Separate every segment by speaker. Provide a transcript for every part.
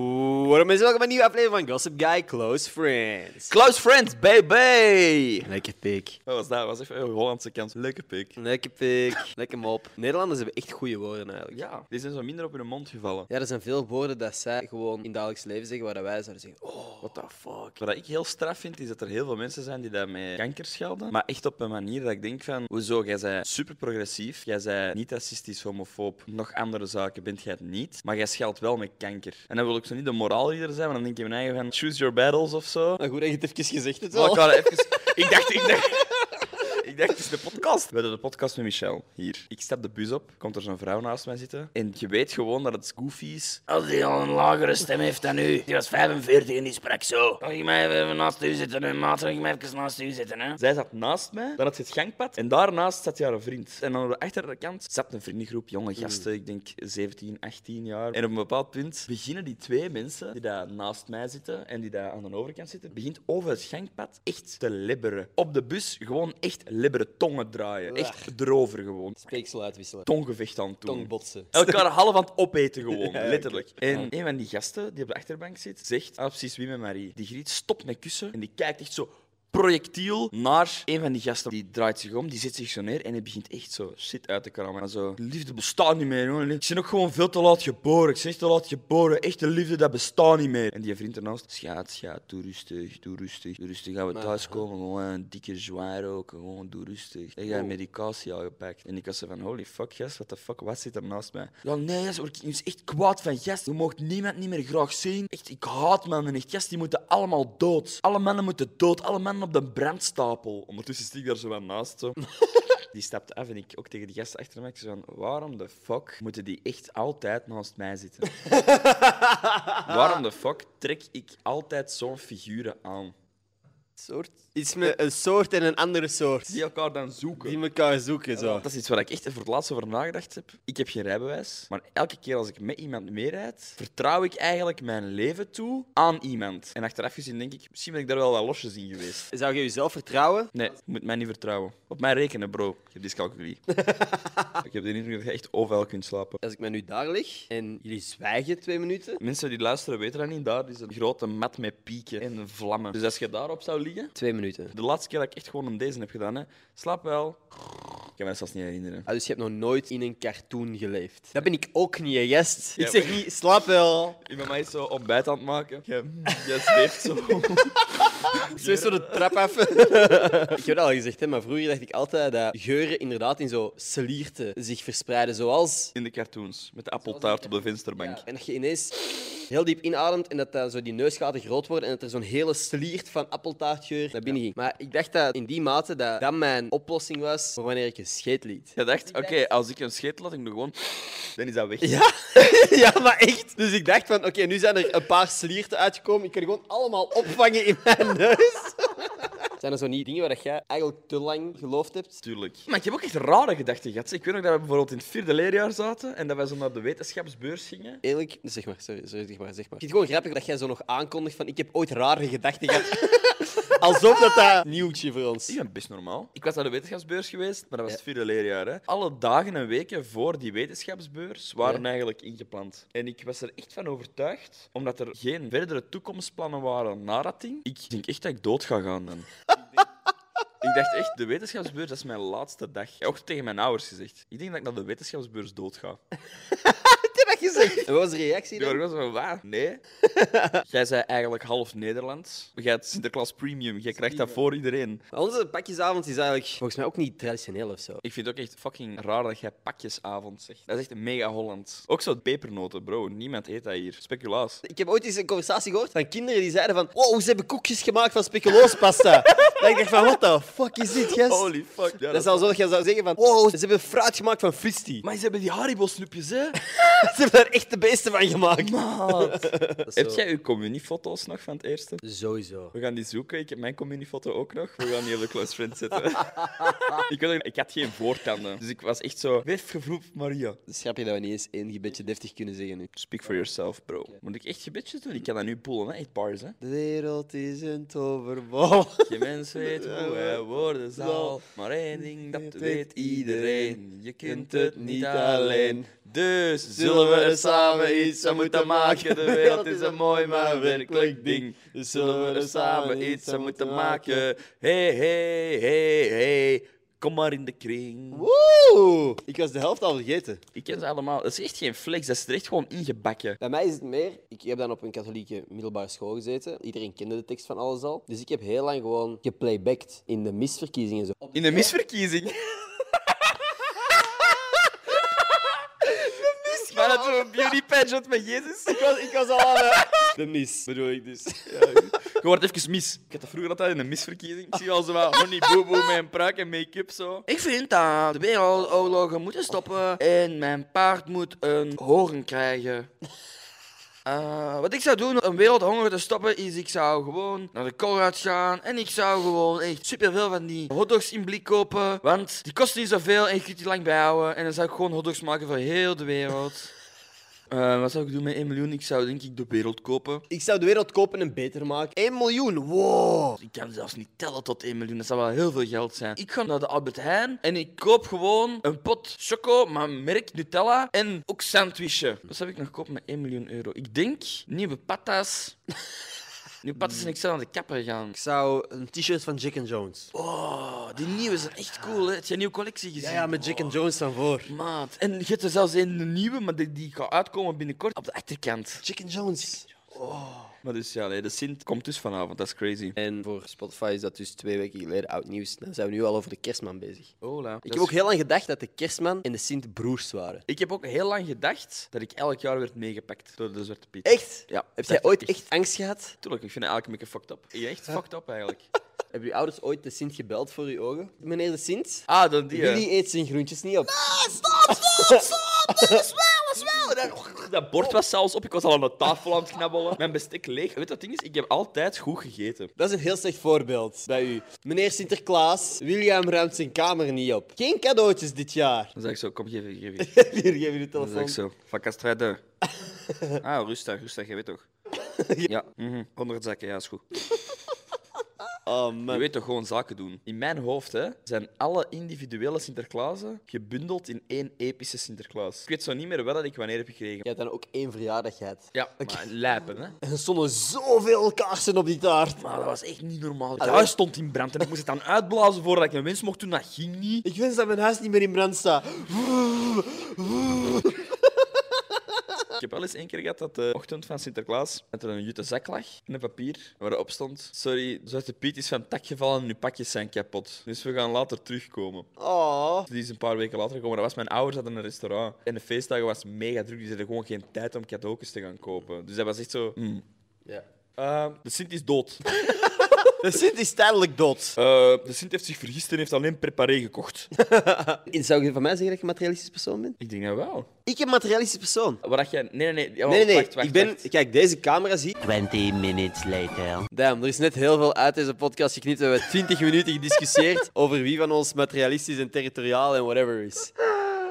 Speaker 1: geworden. Mensen, welkom bij een nieuwe aflevering van Gossip Guy Close Friends.
Speaker 2: Close friends, baby!
Speaker 1: Lekker pik.
Speaker 2: Wat was dat? was even een Hollandse kant. Leuke pik.
Speaker 1: Lekker pik. Lekker mop. Nederlanders hebben echt goede woorden eigenlijk.
Speaker 2: Ja, die zijn zo minder op hun mond gevallen.
Speaker 1: Ja, er zijn veel woorden dat zij gewoon in het dagelijks leven zeggen waar dat wij zouden zeggen: Oh, what the fuck.
Speaker 2: Wat ik heel straf vind, is dat er heel veel mensen zijn die dat met kanker schelden. Maar echt op een manier dat ik denk van... Hoezo, jij bent super progressief. Jij bent niet racistisch, homofoob. Nog andere zaken bent jij het niet. Maar jij scheldt wel met kanker. En dan wil ik zo niet de moraalridder zijn, maar dan denk ik in mijn eigen van... Choose your battles of zo.
Speaker 1: Nou goed dat je het even gezegd hebt.
Speaker 2: Maar
Speaker 1: wel.
Speaker 2: Oh, ik wou dat even... Ik dacht... Ik dacht... Ik dacht, het is de podcast. We hadden de podcast met Michel. Hier. Ik stap de bus op, komt er zo'n vrouw naast mij zitten. En je weet gewoon dat het Ah, goofy is.
Speaker 3: Als die al een lagere stem heeft dan u. Die was 45 en die sprak zo. Mag ik mij even naast u zitten, hè, maat? Mag ik mij even naast u zitten, hè?
Speaker 2: Zij zat naast mij, dan had ze het gangpad. En daarnaast zat haar vriend. En aan de achterkant zat een vriendengroep, jonge gasten, ik denk 17, 18 jaar. En op een bepaald punt beginnen die twee mensen die daar naast mij zitten en die daar aan de overkant zitten, begint over het gangpad echt te libberen. Op de bus gewoon echt libberen, tongen draaien. Echt erover gewoon.
Speaker 1: Speeksel uitwisselen.
Speaker 2: Tonggevecht aan toe.
Speaker 1: Tong botsen.
Speaker 2: Elkaar half aan het opeten gewoon, letterlijk. En een van die gasten die op de achterbank zit, zegt, ah, precies wie met Marie. Die griet stopt met kussen en die kijkt echt zo projectiel naar een van die gasten. Die draait zich om, die zet zich zo neer en die begint echt zo shit uit te kramen. En zo, liefde bestaat niet meer, jongen. Ik ben ook gewoon veel te laat geboren. Ik ben echt te laat geboren. Echte liefde, dat bestaat niet meer. En die vriend ernaast, schaat, schaat, doe rustig, doe rustig. Doe rustig, gaan we thuiskomen. Gewoon een dikke zwaar ook, gewoon doe rustig. En jij hebt medicatie al gepakt. En ik was zo van, holy fuck, gast, what the fuck, wat zit er naast mij? Ja, nee, gast, word ik nu echt kwaad van, gast, je mocht niemand niet meer graag zien. Echt, ik haat mannen, echt, gast, die moeten allemaal dood. Alle mannen moeten dood, alle mannen op de brandstapel. Ondertussen stik ik daar zo wat naast, zo. Die stapt af en ik ook tegen die gast achter me. Ik zei van, waarom de fuck moeten die echt altijd naast mij zitten? waarom de fuck trek ik altijd zo'n figuren aan?
Speaker 1: Soort? Iets met een soort en een andere soort.
Speaker 2: Die elkaar dan zoeken.
Speaker 1: Die elkaar zoeken zo.
Speaker 2: Dat is iets waar ik echt voor het laatst over nagedacht heb. Ik heb geen rijbewijs, maar elke keer als ik met iemand meerijd, vertrouw ik eigenlijk mijn leven toe aan iemand. En achteraf gezien denk ik, misschien ben ik daar wel wat losjes in geweest.
Speaker 1: Zou je jezelf vertrouwen?
Speaker 2: Nee, je moet mij niet vertrouwen. Op mij rekenen, bro. Ik heb dyscalculie. ik heb de indruk dat je echt overal kunt slapen.
Speaker 1: Als ik mij nu daar lig en jullie zwijgen twee minuten.
Speaker 2: Mensen die luisteren weten dat niet. Daar is een grote mat met pieken en vlammen. Dus als je daarop zou liggen...
Speaker 1: Twee minuten.
Speaker 2: De laatste keer dat ik echt gewoon een deze heb gedaan, hè. Slaap wel. Ik kan me dat zelfs niet herinneren.
Speaker 1: Ah, dus je hebt nog nooit in een cartoon geleefd. Dat ben ik ook niet, hè, gast. Ik zeg niet, slaap wel.
Speaker 2: Iemand mij is zo ontbijt aan het maken. Jij, jij zweeft zo.
Speaker 1: Zo is zo de trap af. ik heb dat al gezegd, hè, maar vroeger dacht ik altijd dat geuren inderdaad in zo slierte zich verspreiden. Zoals...
Speaker 2: In de cartoons, met de appeltaart op de vensterbank.
Speaker 1: En dat je ineens heel diep inademt en dat, dat zo die neusgaten groot worden en dat er zo'n hele sliert van appeltaartgeur naar binnen ging. Maar ik dacht dat in die mate dat dat mijn oplossing was voor wanneer ik een scheet liet.
Speaker 2: Je dacht, oké, als ik een scheet laat, ik doe gewoon... Dan is dat weg.
Speaker 1: Ja, ja, maar echt. Dus ik dacht van, oké, nu zijn er een paar slierten uitgekomen. Ik kan die gewoon allemaal opvangen in mijn neus. Zijn er zo niet dingen waar dat jij eigenlijk te lang geloofd hebt?
Speaker 2: Tuurlijk. Maar ik heb ook echt rare gedachten gehad. Ik weet nog dat we bijvoorbeeld in het vierde leerjaar zaten en dat wij zo naar de wetenschapsbeurs gingen.
Speaker 1: Eerlijk, zeg maar, sorry, sorry, zeg maar, zeg maar. Ik vind het gewoon grappig dat jij zo nog aankondigt van ik heb ooit rare gedachten gehad. Alsof dat dat nieuwtje voor ons.
Speaker 2: Ik ben best normaal. Ik was naar de wetenschapsbeurs geweest, maar dat was het vierde leerjaar. Hè. Alle dagen en weken voor die wetenschapsbeurs waren
Speaker 1: Ja.
Speaker 2: eigenlijk ingepland. En ik was er echt van overtuigd, omdat er geen verdere toekomstplannen waren na dat ding. Ik denk echt dat ik dood ga gaan dan. Ik dacht echt, de wetenschapsbeurs dat is mijn laatste dag. Ook tegen mijn ouders gezegd. Ik denk dat ik naar de wetenschapsbeurs dood ga.
Speaker 1: En wat was de reactie
Speaker 2: Die
Speaker 1: dan?
Speaker 2: waren gewoon zo van, waar? Nee. Jij zei eigenlijk half Nederlands. Jij hebt Sinterklaas Premium, jij krijgt dat voor iedereen.
Speaker 1: Maar Onze pakjesavond is eigenlijk volgens mij ook niet traditioneel of zo.
Speaker 2: Ik vind het ook echt fucking raar dat jij pakjesavond zegt. Dat is echt mega Holland. Ook zo pepernoten, bro. Niemand eet dat hier. Speculaas.
Speaker 1: Ik heb ooit eens een conversatie gehoord van kinderen die zeiden van wow, ze hebben koekjes gemaakt van speculoospasta. dat ik dacht van what the fuck is dit, gast?
Speaker 2: Holy fuck. Ja,
Speaker 1: dat is al zo dat je zou zeggen van wow, ze hebben fruit gemaakt van fristi.
Speaker 2: Maar ze hebben die Haribo-snoepjes, hè?
Speaker 1: ze hebben daar echt de beste van gemaakt.
Speaker 2: Maat.
Speaker 1: Dat is
Speaker 2: Heb
Speaker 1: zo-
Speaker 2: jij uw communiefoto's nog van het eerste?
Speaker 1: Sowieso.
Speaker 2: We gaan die zoeken. Ik heb mijn communiefoto ook nog. We gaan die op de close friend zetten. ik, weet ook- ik had geen voortanden. Dus ik was echt zo... Weef gevloept, Maria.
Speaker 1: Dat is grappig dat we nou niet eens één gebedje deftig kunnen zeggen nu.
Speaker 2: Speak for yourself, bro. Moet ik echt gebedjes doen? Ik kan dat nu pullen, hè? Eight bars, hè?
Speaker 1: De wereld is een toverbal.
Speaker 2: Je mens weet hoe hij worden zal. Maar één ding, dat weet iedereen. Je kunt het niet alleen. Dus zullen we een samen iets aan moeten maken. De wereld is een mooi, maar werkelijk ding. Dus zullen we er samen iets aan moeten maken. Hey, hey, hey, hey. Kom maar in de kring.
Speaker 1: Woe! Ik was de helft al vergeten.
Speaker 2: Ik ken ze allemaal. Dat is echt geen flex, dat is er echt gewoon ingebakken.
Speaker 1: Bij mij is het meer, ik heb dan op een katholieke middelbare school gezeten. Iedereen kende de tekst van alles al. Dus ik heb heel lang gewoon geplaybacked in de misverkiezingen. Zo.
Speaker 2: In de misverkiezing. Maar dat we een beauty pageant met Jezus.
Speaker 1: Ik was, ik was al aan de... mis, bedoel ik dus.
Speaker 2: Je wordt even mis. Ik had dat vroeger altijd in een misverkiezing. Ik zie al zo wat honey boo boo met een pruik en make-up zo.
Speaker 3: Ik vind dat de wereldoorlogen moeten stoppen en mijn paard moet een horen krijgen. Eh, wat ik zou doen om wereldhonger te stoppen, is ik zou gewoon naar de Colruyt gaan en ik zou gewoon echt superveel van die hotdogs in blik kopen, want die kosten niet zoveel en je kunt die lang bijhouden en dan zou ik gewoon hotdogs maken voor heel de wereld. Eh, wat zou ik doen met 1 miljoen? Ik zou denk ik de wereld kopen.
Speaker 1: Ik zou de wereld kopen en beter maken. 1 miljoen, wow!
Speaker 3: Ik kan zelfs niet tellen tot 1 miljoen, dat zou wel heel veel geld zijn. Ik ga naar de Albert Heijn en ik koop gewoon een pot choco, maar merk Nutella en ook sandwichen. Wat zou ik nog kopen met 1 miljoen euro? Ik denk nieuwe patas. nieuwe patas en ik zou naar de kapper gaan.
Speaker 1: Ik zou een t-shirt van Jack and Jones.
Speaker 3: Oh, die nieuwe zijn echt cool, hè? Heb je een nieuwe collectie gezien?
Speaker 1: Ja, ja, met Jack and Jones dan voor.
Speaker 3: Maat. En je hebt er zelfs een nieuwe, maar die, die gaat uitkomen binnenkort op de achterkant.
Speaker 1: Jack and Jones.
Speaker 2: Maar dus ja, nee, de Sint komt dus vanavond. Dat is crazy.
Speaker 1: En voor Spotify is dat dus twee weken geleden oud nieuws. Dan zijn we nu al over de kerstman bezig.
Speaker 2: Hola.
Speaker 1: Ik heb ook heel lang gedacht dat de kerstman en de Sint broers waren.
Speaker 2: Ik heb ook heel lang gedacht dat ik elk jaar werd meegepakt door de Zwarte Piet.
Speaker 1: Echt?
Speaker 2: Ja.
Speaker 1: Heb jij
Speaker 2: Dat
Speaker 1: ooit
Speaker 2: ik
Speaker 1: echt angst gehad?
Speaker 2: Tuurlijk, ik vind het eigenlijk een beetje fucked up. Je echt fucked up eigenlijk.
Speaker 1: Hebben je ouders ooit de Sint gebeld voor je ogen? Meneer de Sint,
Speaker 2: Ah, dan die. hè.
Speaker 1: jullie eet zijn groentjes niet op.
Speaker 2: Dat bord was zelfs op. Ik was al aan de tafel aan het knabbelen. Mijn bestek leeg. Weet je wat ding is? Ik heb altijd goed gegeten.
Speaker 1: Dat is een heel slecht voorbeeld bij u. Meneer Sinterklaas, William ruimt zijn kamer niet op. Geen cadeautjes dit jaar.
Speaker 2: Dan zeg ik zo, kom, geef, geef. geef.
Speaker 1: Hier, geef je de
Speaker 2: Dan zeg ik
Speaker 1: telefoon.
Speaker 2: zo, van Castrade. Ah, rustig, rustig, je weet toch. Ja, mhm, 100 zakken, ja, is goed.
Speaker 1: Oh
Speaker 2: Je
Speaker 1: man.
Speaker 2: weet toch gewoon zaken doen. In mijn hoofd hè, zijn alle individuele Sinterklaasen gebundeld in één epische Sinterklaas. Ik weet zo niet meer wat ik wanneer heb gekregen.
Speaker 1: Je hebt dan ook één verjaardag gehad.
Speaker 2: Ja, maar lijpen, hè.
Speaker 1: En er stonden zoveel kaarsen op die taart.
Speaker 3: Maar dat was echt niet normaal.
Speaker 2: Het huis stond in brand en ik moest het dan uitblazen voordat ik een wens mocht doen. Dat ging niet.
Speaker 1: Ik wens dat mijn huis niet meer in brand staat.
Speaker 2: Ik heb wel eens één keer gehad dat de ochtend van Sinterklaas dat er een jute zak lag in een papier waarop stond Sorry, Zwarte Piet is van tak gevallen en uw pakjes zijn kapot. Dus we gaan later terugkomen.
Speaker 1: Oh.
Speaker 2: Die is een paar weken later gekomen. Dat was mijn ouders hadden een restaurant. En de feestdagen was mega druk. Die hadden gewoon geen tijd om cadeautjes te gaan kopen. Dus dat was echt zo... mm.
Speaker 1: Ja.
Speaker 2: Eh, de Sint is dood.
Speaker 1: De Sint is tijdelijk dood.
Speaker 2: Eh, de Sint heeft zich vergist en heeft alleen preparé gekocht.
Speaker 1: Zou je van mij zeggen dat je een materialistisch persoon bent? Oh,
Speaker 2: ik denk dat wel.
Speaker 1: Ik ben een materialistisch persoon.
Speaker 2: Wat dat jij... Nee, nee, nee. Ja,
Speaker 1: Nee, nee, nee.
Speaker 2: wacht, wacht,
Speaker 1: ik ben...
Speaker 2: wacht.
Speaker 1: Kijk, deze camera zie
Speaker 4: 20 minutes later.
Speaker 1: Damn, er is net heel veel uit deze podcast geknipt. We hebben 20 minuten gediscussieerd over wie van ons materialistisch en territoriaal en whatever is.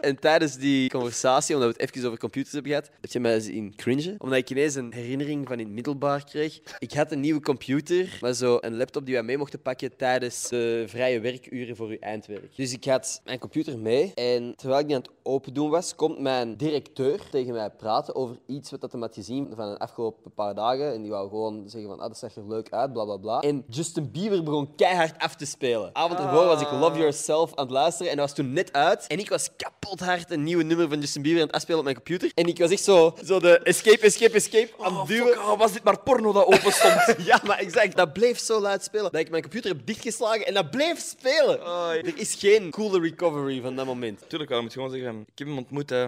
Speaker 1: En tijdens die conversatie, omdat we het even over computers hebben gehad, heb je mij eens in cringe. Omdat ik ineens een herinnering van in het middelbaar kreeg. Ik had een nieuwe computer, maar zo een laptop die wij mee mochten pakken tijdens de vrije werkuren voor uw eindwerk. Dus ik had mijn computer mee en terwijl ik die aan het open doen was, komt mijn directeur tegen mij praten over iets wat dat hem had gezien van de afgelopen paar dagen. En die wou gewoon zeggen van, ah, dat zag er leuk uit, bla bla bla. En Justin Bieber begon keihard af te spelen. Avond ervoor was ik
Speaker 2: Ah.
Speaker 1: Love Yourself aan het luisteren en dat was toen net uit. En ik was kapot hard een nieuwe nummer van Justin Bieber aan het afspelen op mijn computer. En ik was echt zo, zo de escape, escape, escape aan het
Speaker 2: Oh,
Speaker 1: duwen.
Speaker 2: fuck, oh, was dit maar porno dat open stond?
Speaker 1: Ja, maar exact. Dat bleef zo luid spelen dat ik mijn computer heb dichtgeslagen en dat bleef spelen.
Speaker 2: Oei.
Speaker 1: Er is geen coole recovery van dat moment.
Speaker 2: Tuurlijk wel, je moet gewoon zeggen, ik heb hem ontmoet. Hè.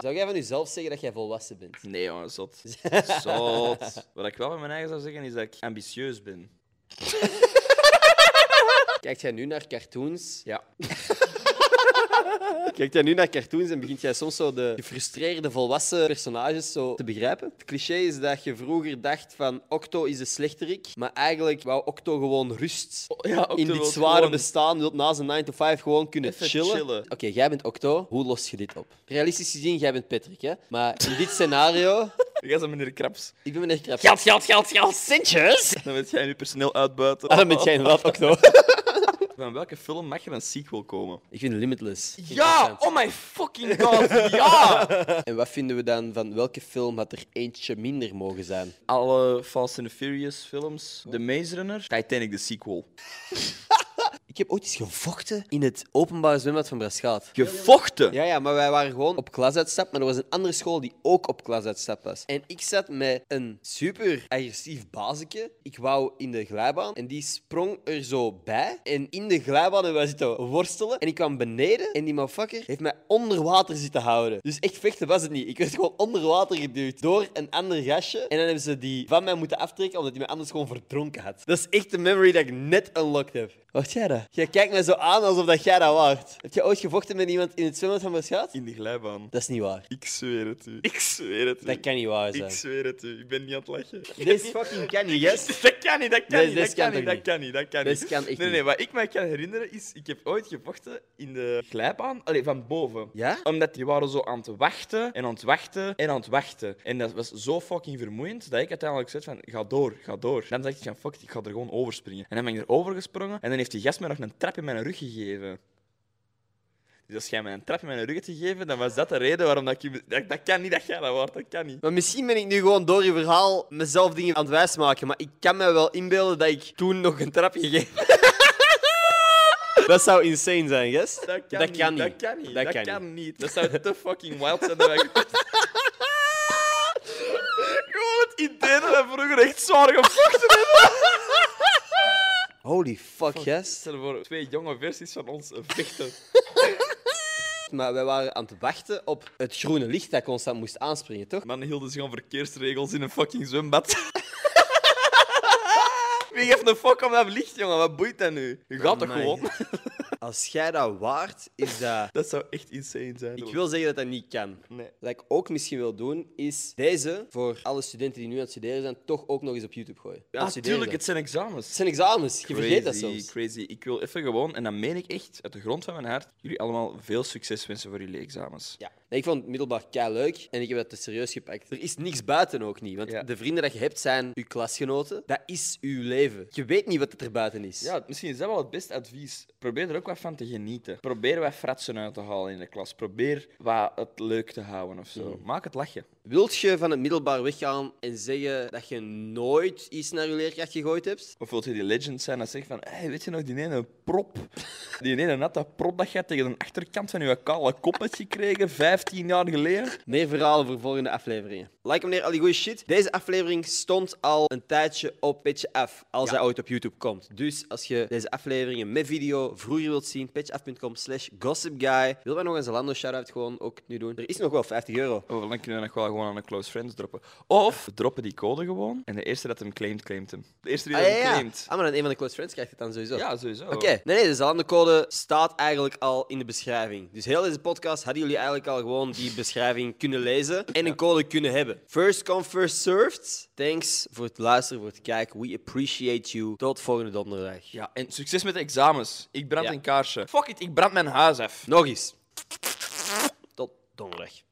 Speaker 1: Zou jij van jezelf zeggen dat jij volwassen bent?
Speaker 2: Nee, jongen, zot. Zot. Wat ik wel van mijn eigen zou zeggen, is dat ik ambitieus ben.
Speaker 1: Kijkt jij nu naar cartoons?
Speaker 2: Ja.
Speaker 1: Kijkt jij nu naar cartoons en begint jij soms zo de gefrustreerde volwassen personages zo te begrijpen? Het cliché is dat je vroeger dacht van Octo is de slechterik, maar eigenlijk wou Octo gewoon rust
Speaker 2: ja, Octo
Speaker 1: in dit
Speaker 2: wil
Speaker 1: zware
Speaker 2: gewoon-
Speaker 1: bestaan, wil na zijn 9 to 5 gewoon kunnen
Speaker 2: Even
Speaker 1: chillen.
Speaker 2: chillen.
Speaker 1: Oké, jij bent Octo, hoe los je dit op? Realistisch gezien, jij bent Patrick, hè? Maar in dit scenario,
Speaker 2: Jij bent meneer Kraps.
Speaker 1: ik ben meneer Krabs.
Speaker 3: Geld, geld, geld, geld, centjes!
Speaker 2: Dan bent jij nu personeel uitbuiten.
Speaker 1: Ah, dan bent jij inderdaad Octo.
Speaker 2: Van welke film mag er een sequel komen?
Speaker 1: Ik vind Limitless.
Speaker 2: Ja!
Speaker 1: interessant.
Speaker 2: Oh my fucking god, ja!
Speaker 1: En wat vinden we dan van welke film had er eentje minder mogen zijn?
Speaker 2: Alle Fast and the Furious films. The Maze Runner. Titanic, de sequel.
Speaker 1: Ik heb ooit eens gevochten in het openbare zwembad van Braschaat.
Speaker 2: Gevochten!
Speaker 1: Ja, ja, maar wij waren gewoon op klasuitstap, maar er was een andere school die ook op klasuitstap was. En ik zat met een super agressief bazeke. Ik wou in de glijbaan en die sprong er zo bij. En in de glijbaan hebben wij zitten worstelen. En ik kwam beneden en die motherfucker heeft mij onder water zitten houden. Dus echt vechten was het niet. Ik werd gewoon onder water geduwd door een ander gastje. En dan hebben ze die van mij moeten aftrekken omdat hij mij anders gewoon verdronken had. Dat is echt de memory dat ik net unlocked heb. Wacht jij dat? Jij kijkt mij zo aan alsof dat jij dat waard. Heb je ooit gevochten met iemand in het zwembad van Beschaat?
Speaker 2: In de glijbaan.
Speaker 1: Dat is niet waar.
Speaker 2: Ik zweer het u. Ik zweer het u.
Speaker 1: Dat kan niet waar
Speaker 2: Ik
Speaker 1: zijn.
Speaker 2: zweer het u. Ik ben niet aan het lachen.
Speaker 1: This fucking kan niet, yes?
Speaker 2: Dat kan niet, dat kan
Speaker 1: Nee,
Speaker 2: niet,
Speaker 1: dit
Speaker 2: dat
Speaker 1: kan
Speaker 2: kan niet,
Speaker 1: toch
Speaker 2: dat kan niet, dat kan
Speaker 1: Dit
Speaker 2: niet.
Speaker 1: kan echt
Speaker 2: nee, nee,
Speaker 1: niet.
Speaker 2: wat ik mij kan herinneren is, ik heb ooit gevochten in de glijbaan, allee, van boven.
Speaker 1: Ja?
Speaker 2: Omdat die waren zo aan het wachten en aan het wachten en aan het wachten. En dat was zo fucking vermoeiend dat ik uiteindelijk zei van, ga door, ga door. Dan dacht ik van, fuck, it, ik ga er gewoon overspringen. En dan ben ik er over gesprongen en dan heeft die gast mij nog een trap in mijn rug gegeven. Dus als jij mij een trap in mijn rug hebt gegeven, dan was dat de reden waarom dat ik... je- Dat, dat kan niet, dat jij dat waard, dat kan niet.
Speaker 1: Maar misschien ben ik nu gewoon door je verhaal mezelf dingen aan het wijsmaken. Maar ik kan me wel inbeelden dat ik toen nog een trap gegeven Dat zou insane zijn, yes?
Speaker 2: Dat kan, niet, Dat kan niet. Dat, kan, niet. Dat zou te fucking wild zijn. Dat wij gewoon Gewoon het idee dat we vroeger echt zwaar gevochten hebben.
Speaker 1: Holy fuck, yes?
Speaker 2: Stel voor twee jonge versies van ons vechten.
Speaker 1: Maar wij waren aan het wachten op het groene licht dat ik constant moest aanspringen, toch?
Speaker 2: Man hielden zich aan verkeersregels in een fucking zwembad. Wie geeft een fuck om dat licht, jongen? Wat boeit dat nu? Je gaat toch
Speaker 1: Amai.
Speaker 2: gewoon?
Speaker 1: Als jij dat waard, is dat...
Speaker 2: Dat zou echt insane zijn.
Speaker 1: Ik wil zeggen dat dat niet kan.
Speaker 2: Nee.
Speaker 1: Wat ik ook misschien wil doen, is deze voor alle studenten die nu aan het studeren zijn, toch ook nog eens op YouTube gooien. Aan het studeren
Speaker 2: Natuurlijk, het
Speaker 1: zijn.
Speaker 2: zijn examens.
Speaker 1: Het zijn examens, je vergeet dat
Speaker 2: Ah, Crazy,
Speaker 1: soms.
Speaker 2: Crazy. Ik wil even gewoon, en dat meen ik echt uit de grond van mijn hart, jullie allemaal veel succes wensen voor jullie examens.
Speaker 1: Ja. Nee, ik vond het middelbaar kei leuk en ik heb dat te serieus gepakt. Er is niks buiten ook niet, want
Speaker 2: Ja.
Speaker 1: de vrienden dat je hebt zijn je klasgenoten. Dat is uw leven. Je weet niet wat het er buiten is.
Speaker 2: Ja, misschien is dat wel het beste advies. Probeer er ook wat van te genieten. Probeer wat fratsen uit te halen in de klas. Probeer wat het leuk te houden of zo. Maak het lachen.
Speaker 1: Wilt je van het middelbaar weggaan en zeggen dat je nooit iets naar je leerkracht gegooid hebt?
Speaker 2: Of wilt je die legend zijn dat zegt van, hey, weet je nog die ene prop? Die ene natte prop dat je tegen de achterkant van je kale kop hebt gekregen, 15 jaar geleden?
Speaker 1: Meer verhalen voor volgende afleveringen. Like meneer al die goeie shit. Deze aflevering stond al een tijdje op Petje Af, als hij ooit op YouTube komt. Dus als je deze afleveringen met video vroeger wilt zien, petjeaf.com slash gossipguy. Wil wij nog een Zalando shout-out gewoon ook nu doen? Er is nog wel 50 euro.
Speaker 2: Of dan kunnen we nog Oh, wel gewoon aan een close friends droppen. Of we droppen die code gewoon en de eerste dat hem claimt, claimt hem. De eerste die
Speaker 1: Ah,
Speaker 2: dat
Speaker 1: ja,
Speaker 2: hem
Speaker 1: ja.
Speaker 2: claimt.
Speaker 1: Ah, maar dan een van de close friends krijgt het dan sowieso.
Speaker 2: Ja, sowieso.
Speaker 1: Oké, nee, nee, de Zalando-code staat eigenlijk al in de beschrijving. Dus heel deze podcast hadden jullie eigenlijk al gewoon die beschrijving kunnen lezen en een code kunnen hebben. First come, first served. Thanks voor het luisteren, voor het kijken. We appreciate you. Tot volgende donderdag.
Speaker 2: Ja, en succes met de examens. Ik brand
Speaker 1: Ja.
Speaker 2: een kaarsje. Fuck it, ik brand mijn huis af.
Speaker 1: Nog eens. Tot donderdag.